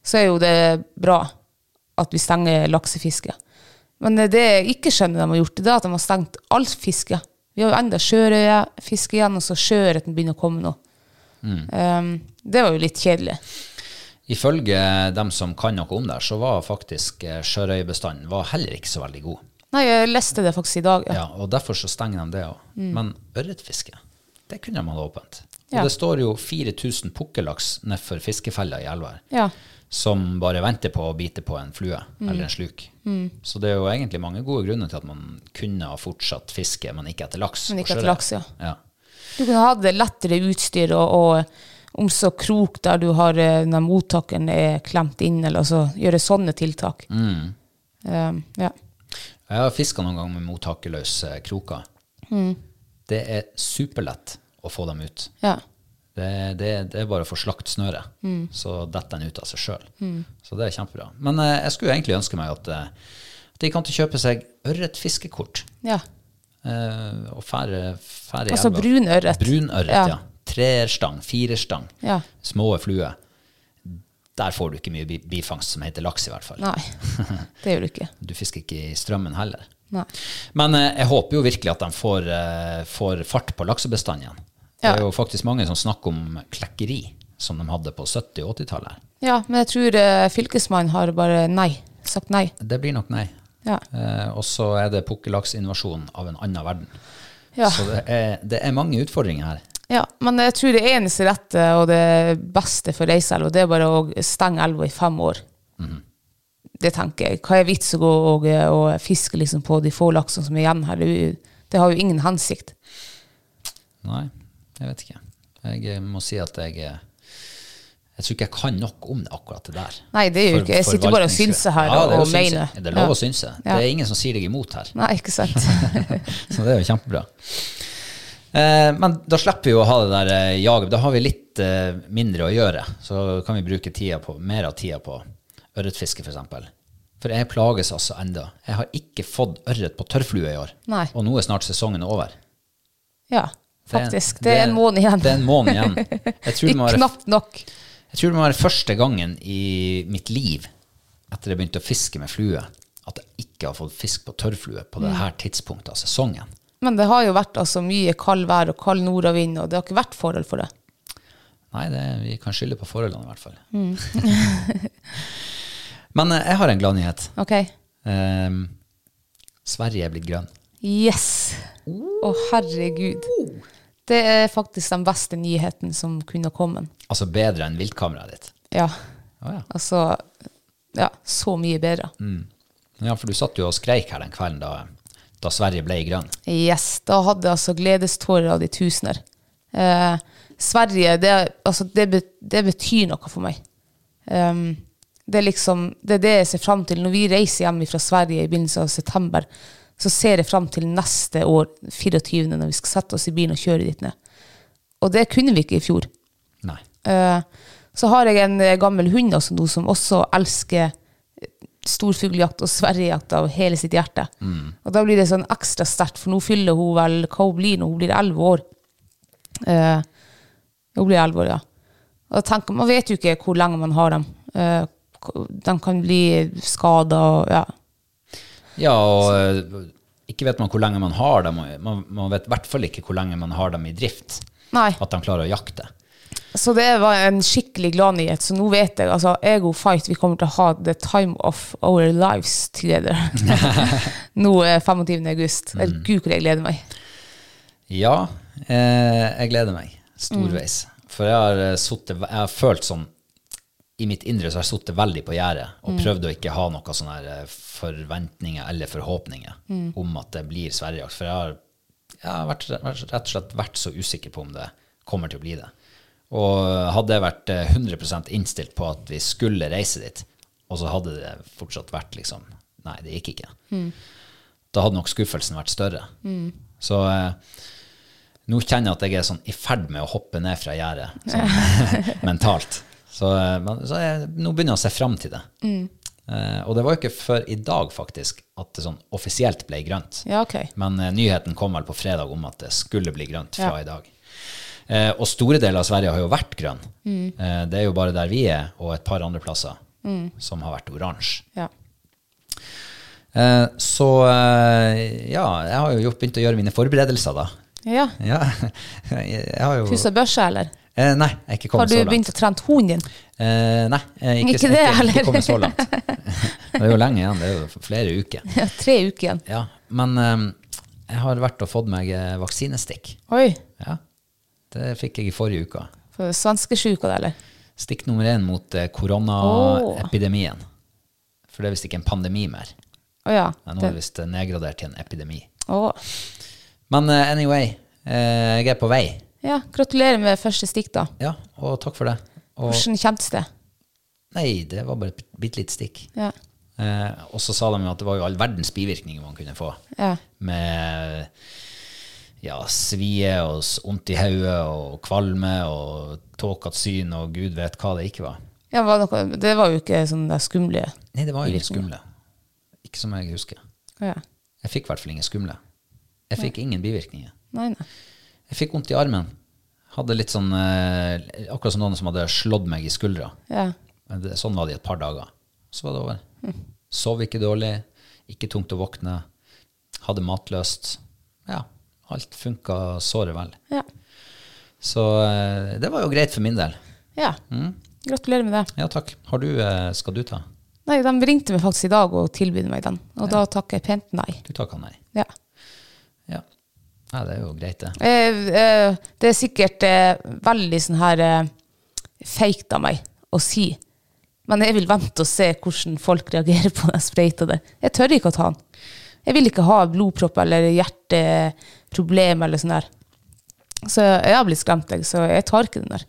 så er jo det bra at vi stenger laksefisket. Men det jeg ikke skjønner de har gjort, det er at de har stengt alt fiske. Vi har jo enda sjørøyefiske igjen, og så sjøørreten begynner å komme nå. Um, det var jo litt kjedelig.
Ifølge dem som kan noe om det, så var faktisk eh, sjørøyebestanden var heller ikke så veldig god.
Nei, jeg leste det faktisk i dag.
Ja,
Ja. Mm.
og derfor så stenger de det òg. Men ørretfiske, det kunne de ha åpent. Og
Ja.
det står jo 4000 pukkellaks nedfor fiskefella i elva her,
Ja.
som bare venter på å bite på en flue
Mm.
eller en sluk. Så det er jo egentlig mange gode grunner til at man kunne ha fortsatt fiske, men ikke etter laks.
Men
og
ikke etter
sjøørret.
laks, ja.
ja.
Du kunne hatt det lettere utstyr og, og om så krok der du har eh, når mottakeren er klemt inn, eller altså gjøre sånne tiltak. Um, ja.
Jeg har fiska noen ganger med mottakerløse kroker.
Mm.
Det er superlett å få dem ut.
ja.
Det, det, det er bare å få slakt snøret,
Mm.
så detter den ut av seg sjøl. Så det er kjempebra. Men eh, jeg skulle jo egentlig ønske meg at, eh, at de kan til kjøpe seg ørretfiskekort.
ja.
Eh, og færre, færre
Altså brun ørret.
Brun ørret, ja.
Ja.
Treerstang, firerstang,
Ja.
små fluer. Der får du ikke mye bi- bifangst som heter laks, i hvert fall.
Nei, det gjør du ikke.
Du fisker ikke i strømmen heller.
Nei.
Men eh, jeg håper jo virkelig at de får, eh, får fart på laksebestanden igjen. Det
Ja.
er jo faktisk mange som snakker om klekkeri, som de hadde på 70- og 80-tallet.
Ja, men jeg tror eh, fylkesmannen har bare nei. Sagt nei.
Det blir nok nei.
Ja.
Eh, og så er det pukkellaksinvasjon av en annen verden.
Ja.
Så det er, det er mange utfordringer her.
ja. Men jeg tror det eneste rette og det beste for Reiselva, det er bare å stenge elva i fem år.
Mhm.
Det tenker jeg. Hva er vits å gå og, og fiske liksom på de få laksene som er igjen her? Det, er jo- det har jo ingen hensikt.
Nei, jeg vet ikke. Jeg eh, må si at jeg eh, Jeg tror ikke jeg kan nok om det akkurat det der.
Nei, det gjør jo ikke. Jeg sitter jo bare og synser her
det er
og
jo synsing.
mener.
Det er lov
Ja.
å synse.
Ja.
Det er ingen som sier deg imot her.
Nei, ikke sant.
Så det er jo kjempebra. Eh, men da slipper vi å ha det der eh, jaget. Da har vi litt eh, mindre å gjøre. Så kan vi bruke tida på, mer av tida på ørretfiske, f.eks. For, eksempel. for jeg plages altså enda. Jeg har ikke fått ørret på tørrflue i år.
Nei.
Og nå er snart sesongen over.
Ja,
Det er-
faktisk. Det er en måned igjen.
Det er en måned igjen. Jeg tror det må
Ikke
være,
knapt nok.
jeg tror det må være første gangen i mitt liv etter jeg begynte å fiske med flue, at jeg ikke har fått fisk på tørrflue på
Mm.
det her tidspunktet av sesongen.
Men det har jo vært altså mye kald vær og kald nordavind, og det har ikke vært forhold for det.
Nei, det, vi kan skylde på forholdene i hvert fall. Mm. Men eh, jeg har en glad nyhet.
Ok.
Ehm, Sverige er blitt grønn.
Yes! Å, herregud. Det er faktisk den beste nyheten som kunne kommet.
Altså bedre enn viltkameraet ditt.
Ja,
Å ja.
altså Ja, så mye bedre.
ja, for du satt jo og skreik her den kvelden da, da Sverige ble grønn.
Yes. Da hadde jeg altså gledestårer av de tusener. Eh, Sverige, det, er- altså, det, be, det betyr noe for meg. Ehm, det er liksom Det er det jeg ser fram til. Når vi reiser hjem fra Sverige i begynnelsen av september, så ser jeg fram til neste år, 24., når vi skal sette oss i bilen og kjøre dit ned. Og det kunne vi ikke i fjor.
Nei.
Eh, Så har jeg en eh, gammel hund også nå som også elsker eh, storfugljakt og sverrejakt av hele sitt hjerte. Og da blir det sånn ekstra sterkt, for nå fyller hun vel hva hun blir når hun blir elleve år. Eh, hun blir 11 år, ja. Og da tenker, man vet jo ikke hvor lenge man har dem. Eh, k- de kan bli skada og ja.
Ja, og eh, ikke vet man hvor lenge man har dem. og Man, man vet i hvert fall ikke hvor lenge man har dem i drift.
Nei.
At de klarer å jakte.
Så det var en skikkelig glad nyhet. Så nå vet jeg altså, jeg og Fight vi kommer til å ha the time of our lives together. nå er 25. august.
Mm.
Gud, hvor jeg gleder meg.
Ja, eh, jeg gleder meg storveis. For jeg har, eh, suttet, jeg har følt sånn I mitt indre så har jeg sittet veldig på gjerdet og prøvd å ikke ha noen sånne her, eh, forventninger eller forhåpninger om at det blir Sverigejakt. For jeg har, jeg har vært, vært, rett og slett vært så usikker på om det kommer til å bli det. Og hadde jeg vært eh, 100 innstilt på at vi skulle reise dit, og så hadde det fortsatt vært liksom Nei, det gikk ikke. Da hadde nok skuffelsen vært større. Så eh, nå kjenner jeg at jeg er sånn i ferd med å hoppe ned fra gjerdet sånn, mentalt. Så, eh, men, så jeg, nå begynner jeg å se fram til det. Eh, og det var jo ikke før i dag faktisk at det sånn offisielt ble grønt.
Ja, ok.
Men eh, nyheten kom vel på fredag om at det skulle bli grønt fra i dag. Eh, og store deler av Sverige har jo vært grønn. Eh, det er jo bare der vi er, og et par andre plasser, som har vært oransje.
Ja.
Eh, så eh, ja, jeg har jo gjort, begynt å gjøre mine forberedelser, da.
ja.
Ja, jeg har jo
Pussa børsa, eller?
Eh, nei, jeg er ikke
Har
kommet
du
så langt.
begynt å trene hunden din?
Eh, nei, jeg er ikke,
Ikke det,
jeg er ikke,
heller.
ikke kommet så langt. Det er jo lenge igjen, det er jo flere uker.
Ja, Tre uker igjen.
Ja, men eh, jeg har vært og fått meg eh, vaksinestikk.
Oi.
Ja, det fikk jeg i forrige uke.
For Svenskesjuka, det, eller?
Stikk nummer én mot eh, koronaepidemien. For det er visst ikke en pandemi mer.
Å ja.
Nei, nå
Det,
er det visst nedgradert til en epidemi.
å.
Men eh, anyway, eh, jeg er på vei.
Ja, gratulerer med første stikk, da.
Ja, og takk for det. Og,
Hvordan kjentes det?
nei, det var bare et bitte lite stikk.
Ja.
Eh, og så sa de jo at det var jo all verdens bivirkninger man kunne få.
Ja.
Med ja, svie og s- vondt i hodet og kvalme og tåkete syn og gud vet hva det ikke var.
Ja, var noe, det var jo ikke sånn der skumle
Nei, det var jo ingen skumle. Ikke som jeg husker.
ja.
Jeg fikk i hvert fall ingen skumle. Jeg fikk ingen bivirkninger.
Nei, nei.
Jeg fikk vondt i armen. Hadde litt sånn, eh, akkurat som noen som hadde slått meg i skuldra.
Ja.
Men det, sånn var det i et par dager. Så var det over. Sov ikke dårlig, ikke tungt å våkne, hadde matlyst. Ja, alt funka såre vel.
Ja.
Så eh, det var jo greit for min del.
ja. Gratulerer med det.
Ja, takk. Har du, eh, skal du ta?
Nei, de ringte meg faktisk i dag og tilbød meg den, og da takker jeg pent nei.
Du tar ikke nei.
Ja.
Ja. ja, det er jo greit det.
Eh, eh, det er sikkert eh, veldig sånn her eh, feigt av meg å si, men jeg vil vente og se hvordan folk reagerer på den sprøyta der. Jeg tør ikke å ta den. Jeg vil ikke ha blodpropp eller hjerteproblem eller sånn der. Så jeg har blitt skremt, jeg, så jeg tar ikke den der.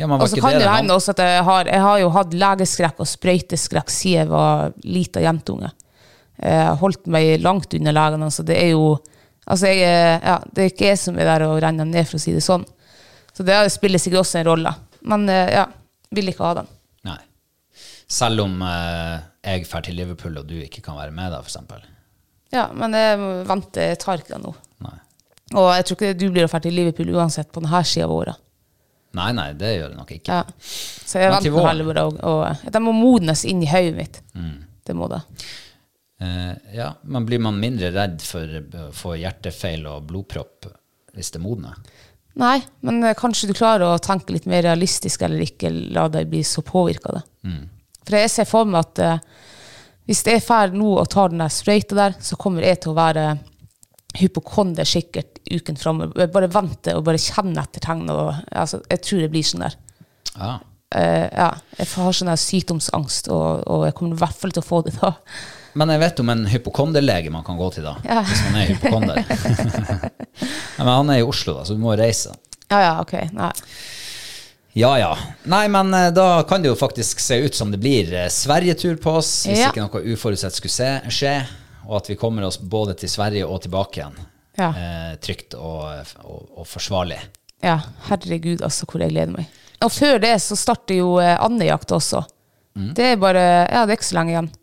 Ja, men var
Og så
ikke
Altså, kan det jo
den
hende også at jeg har, jeg har jo hatt legeskrekk og sprøyteskrekk siden jeg var lita jentunge. Jeg holdt meg langt under legene, så det er jo Altså, jeg, er- ja, det er ikke jeg som er der og renner dem ned, for å si det sånn. Så det spiller sikkert også en rolle. Men eh, ja, vil ikke ha den.
Nei. Selv om eh, jeg drar til Liverpool og du ikke kan være med da, for eksempel.
Ja, men jeg må vente, jeg tar ikke den nå.
Nei.
Og jeg tror ikke du blir ferdig i Liverpool uansett på denne sida av året.
Nei, nei, det gjør det nok ikke.
Ja. Så jeg
Men til
venter på
våren?
helvete, og, og de må modnes inn i hodet mitt.
Mm.
Det må det.
Eh, ja, men blir man mindre redd for å få hjertefeil og blodpropp hvis det modner?
Nei, men eh, kanskje du klarer å tenke litt mer realistisk eller ikke la deg bli så påvirka av det. For jeg ser for meg at eh, hvis jeg drar nå og tar den der sprøyta der, så kommer jeg til å være hypokonder sikkert uken framover. Bare vente og bare kjenne etter tegn. og, Altså, jeg tror jeg blir sånn der.
Ja.
Eh, ja, jeg har sånn der sykdomsangst, og, og jeg kommer i hvert fall til å få det da.
Men jeg vet om en hypokonderlege man kan gå til da,
Ja.
hvis man er hypokonder. Nei, men han er i Oslo da, så du må reise.
Ja, ja, ok. Nei.
Ja, ja. Nei, men eh, da kan det jo faktisk se ut som det blir eh, Sverigetur på oss, hvis
Ja.
ikke noe uforutsett skulle se, skje, og at vi kommer oss både til Sverige og tilbake igjen.
Ja.
Eh, trygt og, og, og forsvarlig.
Ja, herregud, altså, hvor jeg gleder meg. Og før det så starter jo eh, andejakt også. Det er bare Ja, det er ikke så lenge igjen.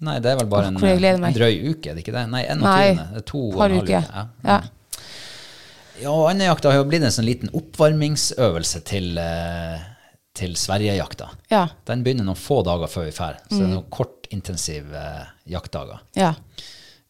Nei, det er vel bare
Åh,
en,
hvor jeg gleder
en
meg.
drøy uke, er det ikke det? Nei, 21. Det er to og
par
en halv
uker.
uke,
Ja.
Ja, og Andøyjakta har jo blitt en sånn liten oppvarmingsøvelse til, eh, til Sverigejakta.
Ja.
Den begynner noen få dager før vi drar, så det
Mm.
er noen kort, intensive eh, jaktdager.
ja,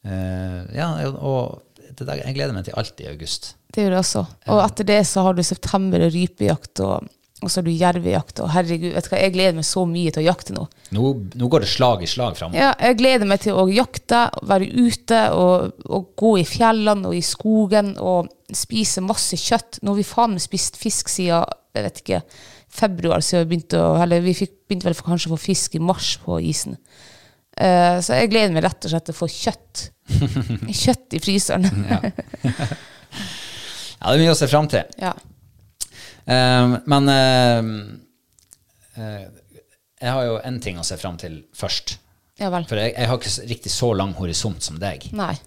Eh, ja, og det der, jeg gleder meg til alt i august.
det gjør det også. Og etter det så har du september og rypejakt, og, og så har du jervejakt. Og herregud, vet du hva, jeg gleder meg så mye til å jakte nå.
Nå, nå går det slag i slag framover.
Ja, jeg gleder meg til å jakte, være ute og, og gå i fjellene og i skogen og spise masse kjøtt. Nå har vi faen meg spist fisk siden jeg vet ikke, februar, siden vi begynte å Eller vi fikk, begynte vel for, kanskje å få fisk i mars på isen. Eh, så jeg gleder meg rett og slett til å få kjøtt. Kjøtt
Mm.
i fryseren.
Ja, det er mye å se fram til.
ja.
Eh, men eh, eh, jeg har jo én ting å se fram til først.
ja vel.
For jeg, jeg har ikke s- riktig så lang horisont som deg.
Nei.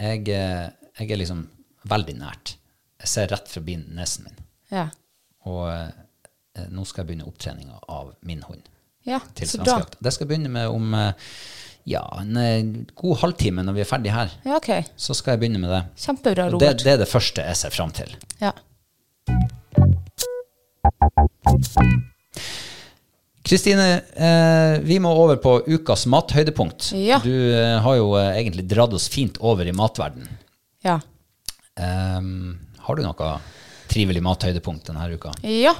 Jeg, eh, jeg er liksom veldig nært. Jeg ser rett forbi nesen min.
Ja.
Og eh, nå skal jeg begynne opptreninga av min hund
ja.
til
Så bra.
svenskejakt. Det skal begynne med om eh, ja, en eh, god halvtime når vi er ferdig her.
Ja, ok.
Så skal jeg begynne med det.
Kjempebra,
Og Det,
Robert.
det er det første jeg ser fram til.
Ja.
Kristine, eh, vi må over på ukas mathøydepunkt.
Ja.
Du eh, har jo eh, egentlig dratt oss fint over i matverden.
ja.
Ehm, har du noe trivelig mathøydepunkt denne uka?
Ja,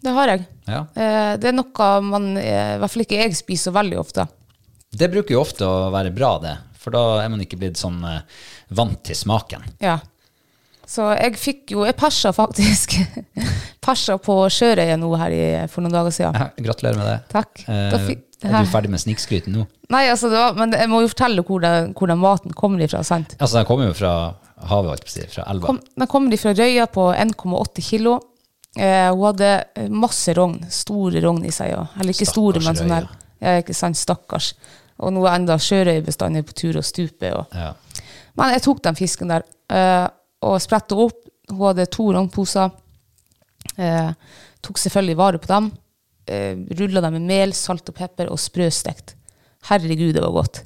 det har jeg.
Ja.
Eh, Det er noe man, eh, i hvert fall ikke jeg, spiser så veldig ofte.
Det bruker jo ofte å være bra, det. For da er man ikke blitt sånn eh, vant til smaken.
Ja. Så jeg fikk jo Jeg persa faktisk. persa på Sjørøya nå her i, for noen dager siden.
Ja, Gratulerer med det.
Takk. Da
Eh,
fikk-
er du ferdig med snikskryten nå?
Nei, altså, det var, men jeg må jo fortelle hvor, den, hvor den maten kommer ifra. sant?
Altså, den kommer jo fra havet, holdt jeg på å si. Fra elva.
Kom, den kommer ifra Røya på 1,8 kilo. Eh, hun hadde masse rogn. Store rogn i seg. Og, eller ikke store,
Stakkars
men sånn her.
Røya.
Ja, ikke sant? Stakkars. Og nå er enda sjørøyebestanden på tur og stupe. Og,
Ja.
Men jeg tok den fisken der eh, og spretta opp. Hun hadde to rognposer. Eh, tok selvfølgelig vare på dem. Eh, Rulla dem med mel, salt og pepper og sprøstekt. Herregud, det var godt.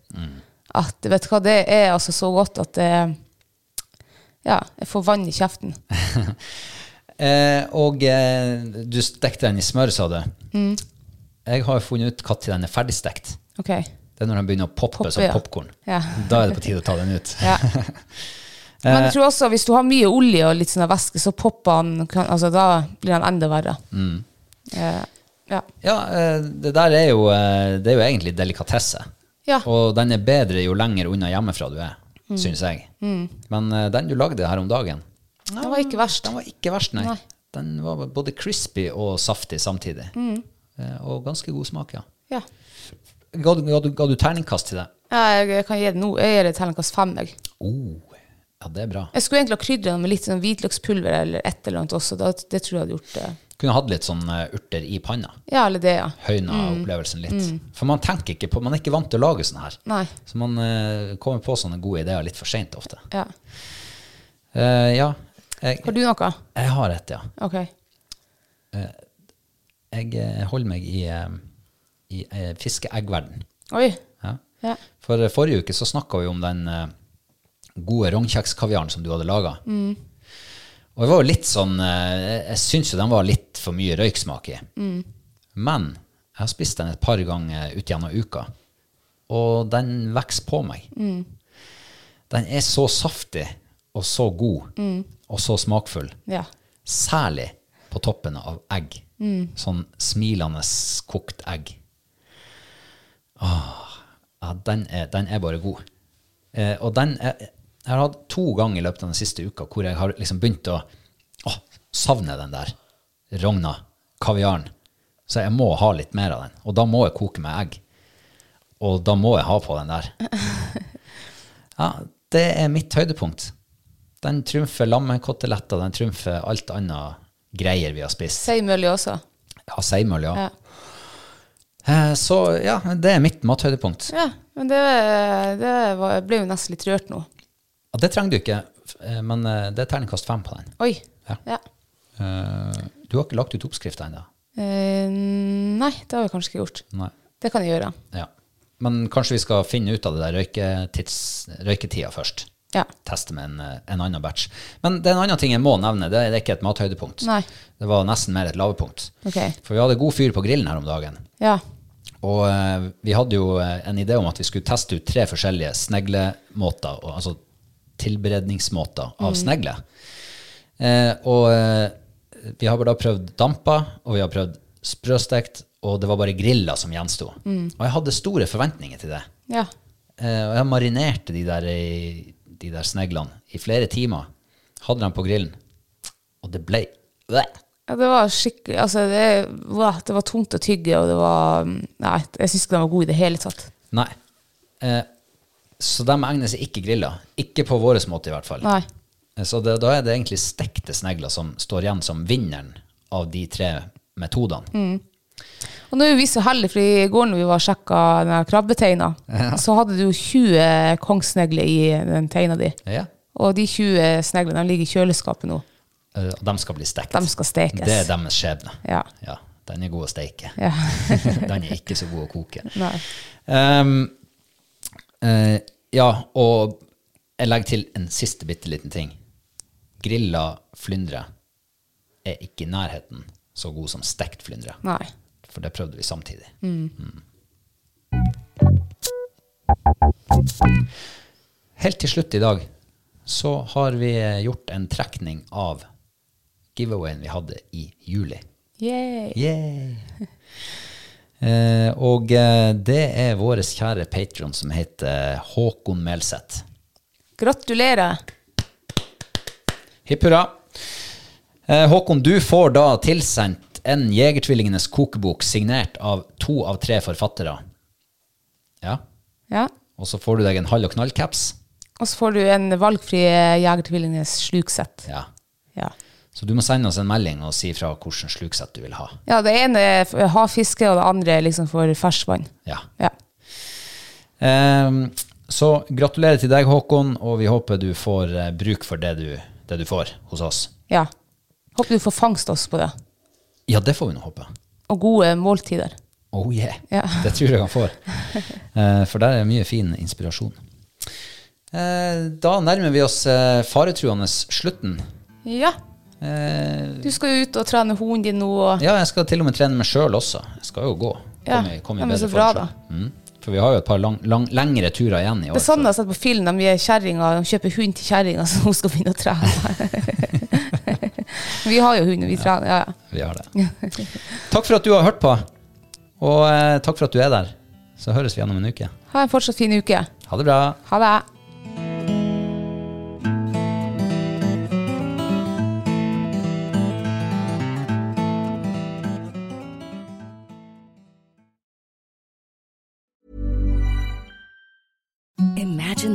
At, vet du hva, det er altså så godt at eh, ja, jeg får vann i kjeften. Mm.
Eh, og eh, du stekte den i smør, sa du. Jeg har funnet ut når den er ferdigstekt.
Ok.
Det er når den begynner å poppe,
Poppe,
som
ja.
popkorn.
Ja.
Da er det på tide å ta den ut.
Ja. Men jeg tror også hvis du har mye olje og litt sånn væske, så popper han kan, altså Da blir han enda verre. Eh, ja.
Ja, eh, det der er jo, eh, det er jo egentlig delikatesse.
Ja.
Og den er bedre jo lenger unna hjemmefra du er,
Mm.
syns jeg. Men eh, den du lagde her om dagen,
Det var ikke verst.
den var ikke verst, nei.
Nei.
Den var både crispy og saftig samtidig.
Mm.
Eh, Og ganske god smak, ja.
Ja.
Ga du, ga du, ga du terningkast til det?
Jeg kan gi det nå. Jeg gir det terningkast fem. Jeg.
Oh, ja, det er bra.
jeg skulle egentlig ha krydret den med litt sånn hvitløkspulver eller et eller annet også. Da, det tror jeg hadde gjort det.
Kunne hatt litt sånn eh, urter i panna.
Ja, eller det, ja.
Høyna
Mm.
opplevelsen litt. For man tenker ikke på, man er ikke vant til å lage sånn her.
Nei.
Så man eh, kommer på sånne gode ideer litt for seint ofte.
Ja.
Eh, ja, jeg,
Har du noe?
jeg har et, ja.
Ok.
Jeg eh, holder meg i, eh, i eh, fiskeeggverden.
Oi.
Ja.
Ja.
For eh, forrige uke så snakka vi om den eh, gode rognkjekskaviaren som du hadde laga. Og jeg var jo litt sånn eh, Jeg syns jo den var litt for mye røyksmak i. Men jeg har spist den et par ganger ut gjennom uka, og den vokser på meg. Den er så saftig og så god og så smakfull.
ja.
Særlig på toppen av egg. Sånn smilende kokt egg. Åh, ja, den, er, den er bare god. Eh, og den er, Jeg har hatt to ganger i løpet av den siste uka hvor jeg har liksom begynt å åh, savne den der rogna, kaviaren. Så jeg må ha litt mer av den. Og da må jeg koke med egg. Og da må jeg ha på den der. Ja, det er mitt høydepunkt. Den trumfer lammekoteletter, den trumfer alt annet greier vi har spist.
Seimølje også.
Ja, seimøl, ja.
Ja.
Eh, Så ja, det er mitt mathøydepunkt.
Ja, men det, det var, jeg ble jo nesten litt rørt nå.
Ja, det trenger du ikke, f- eh, men eh, det er terningkast fem på den.
Oi.
Ja.
Ja.
Eh, Du har ikke lagt ut oppskrifta ennå?
Eh, nei, det har jeg kanskje ikke gjort.
Nei.
Det kan jeg gjøre.
Ja. Men kanskje vi skal finne ut av det der røyketids, røyketida først.
Ja.
Teste med en, eh, en annen batch. Men det er en annen ting jeg må nevne. Det er det er ikke et mathøydepunkt.
Nei.
Det var nesten mer et lavepunkt.
Ok.
For vi hadde god fyr på grillen her om dagen.
Ja.
Og eh, vi hadde jo eh, en idé om at vi skulle teste ut tre forskjellige sneglemåter, og- altså tilberedningsmåter av snegle. Eh, og eh, vi har bare da prøvd dampa, og vi har prøvd sprøstekt, og det var bare grilla som gjensto. Og jeg hadde store forventninger til det.
Ja.
Eh, og jeg marinerte de der, i- de der sneglene i flere timer. Hadde dem på grillen, og det ble Bleh!
ja. Det var skikkelig Altså, det, wow, det var tungt å tygge, og det var mm, Nei, jeg syns ikke den var god i det hele tatt.
Nei. Eh, så de egner seg ikke grilla. Ikke på vår måte, i hvert fall.
Nei.
Eh, Så det, da er det egentlig stekte snegler som står igjen som vinneren av de tre metodene.
Mm. Og nå er jo vi så heldige, for i går når vi var og sjekka den her krabbeteina, så hadde du 20 kongsnegler i den teina di.
Ja.
Og de 20 sneglene de ligger i kjøleskapet nå.
Eh, og de skal bli stekt.
De skal stekes.
Det er deres skjebne.
Ja.
Den er god å steike.
Ja.
den er ikke så god å koke.
Nei.
Ehm, eh, ja, og jeg legger til en siste bitte liten ting. Grilla flyndre er ikke i nærheten så god som stekt flyndre.
Nei.
For det prøvde vi samtidig. Mm. Helt til slutt i dag så har vi gjort en trekning av giveawayen vi hadde i juli.
Yay.
Yay! Eh, og eh, det er vår kjære patron som heter eh, Håkon Melseth.
Gratulerer.
Hipp hurra. Eh, Håkon, du får da tilsendt en Jegertvillingenes kokebok signert av to av tre forfattere. Ja.
Ja.
Og så får du deg en halv- og knallcaps.
Og så får du en valgfri eh, Jegertvillingenes sluksett.
Ja.
Ja.
Så du må sende oss en melding og si fra hvilken sluksett du vil ha.
ja, det ene er f- havfiske, og det andre er liksom for ferskvann.
Ja.
Ja.
Ehm, så gratulerer til deg, Håkon, og vi håper du får eh, bruk for det du, det du får hos oss.
ja. Håper du får fangst også på det.
Ja, det får vi nå håpe.
Og gode måltider.
Oh yeah.
Ja.
Det tror jeg han får. Eh, For der er mye fin inspirasjon. Eh, Da nærmer vi oss eh, faretruende slutten.
Ja.
Eh,
Du skal jo ut og trene hunden din nå. Og...
Ja, jeg skal til og med trene meg sjøl også. Jeg skal jo gå.
Ja.
Kom i, kom i
Ja, men
bedre
så bra,
form. selv. Mm. For vi har jo et par lang, lang, lengre turer igjen i år.
Det er sånn
så-
jeg har sett på film. De gir kjerringa De kjøper hund til kjerringa, så hun skal begynne å trene. vi har jo hund, og vi trener. Ja, ja.
Vi har det. Takk for at du har hørt på, og eh, takk for at du er der. Så høres vi igjen om en uke.
Ha en fortsatt fin uke.
Ha det bra.
Ha det.
Imagine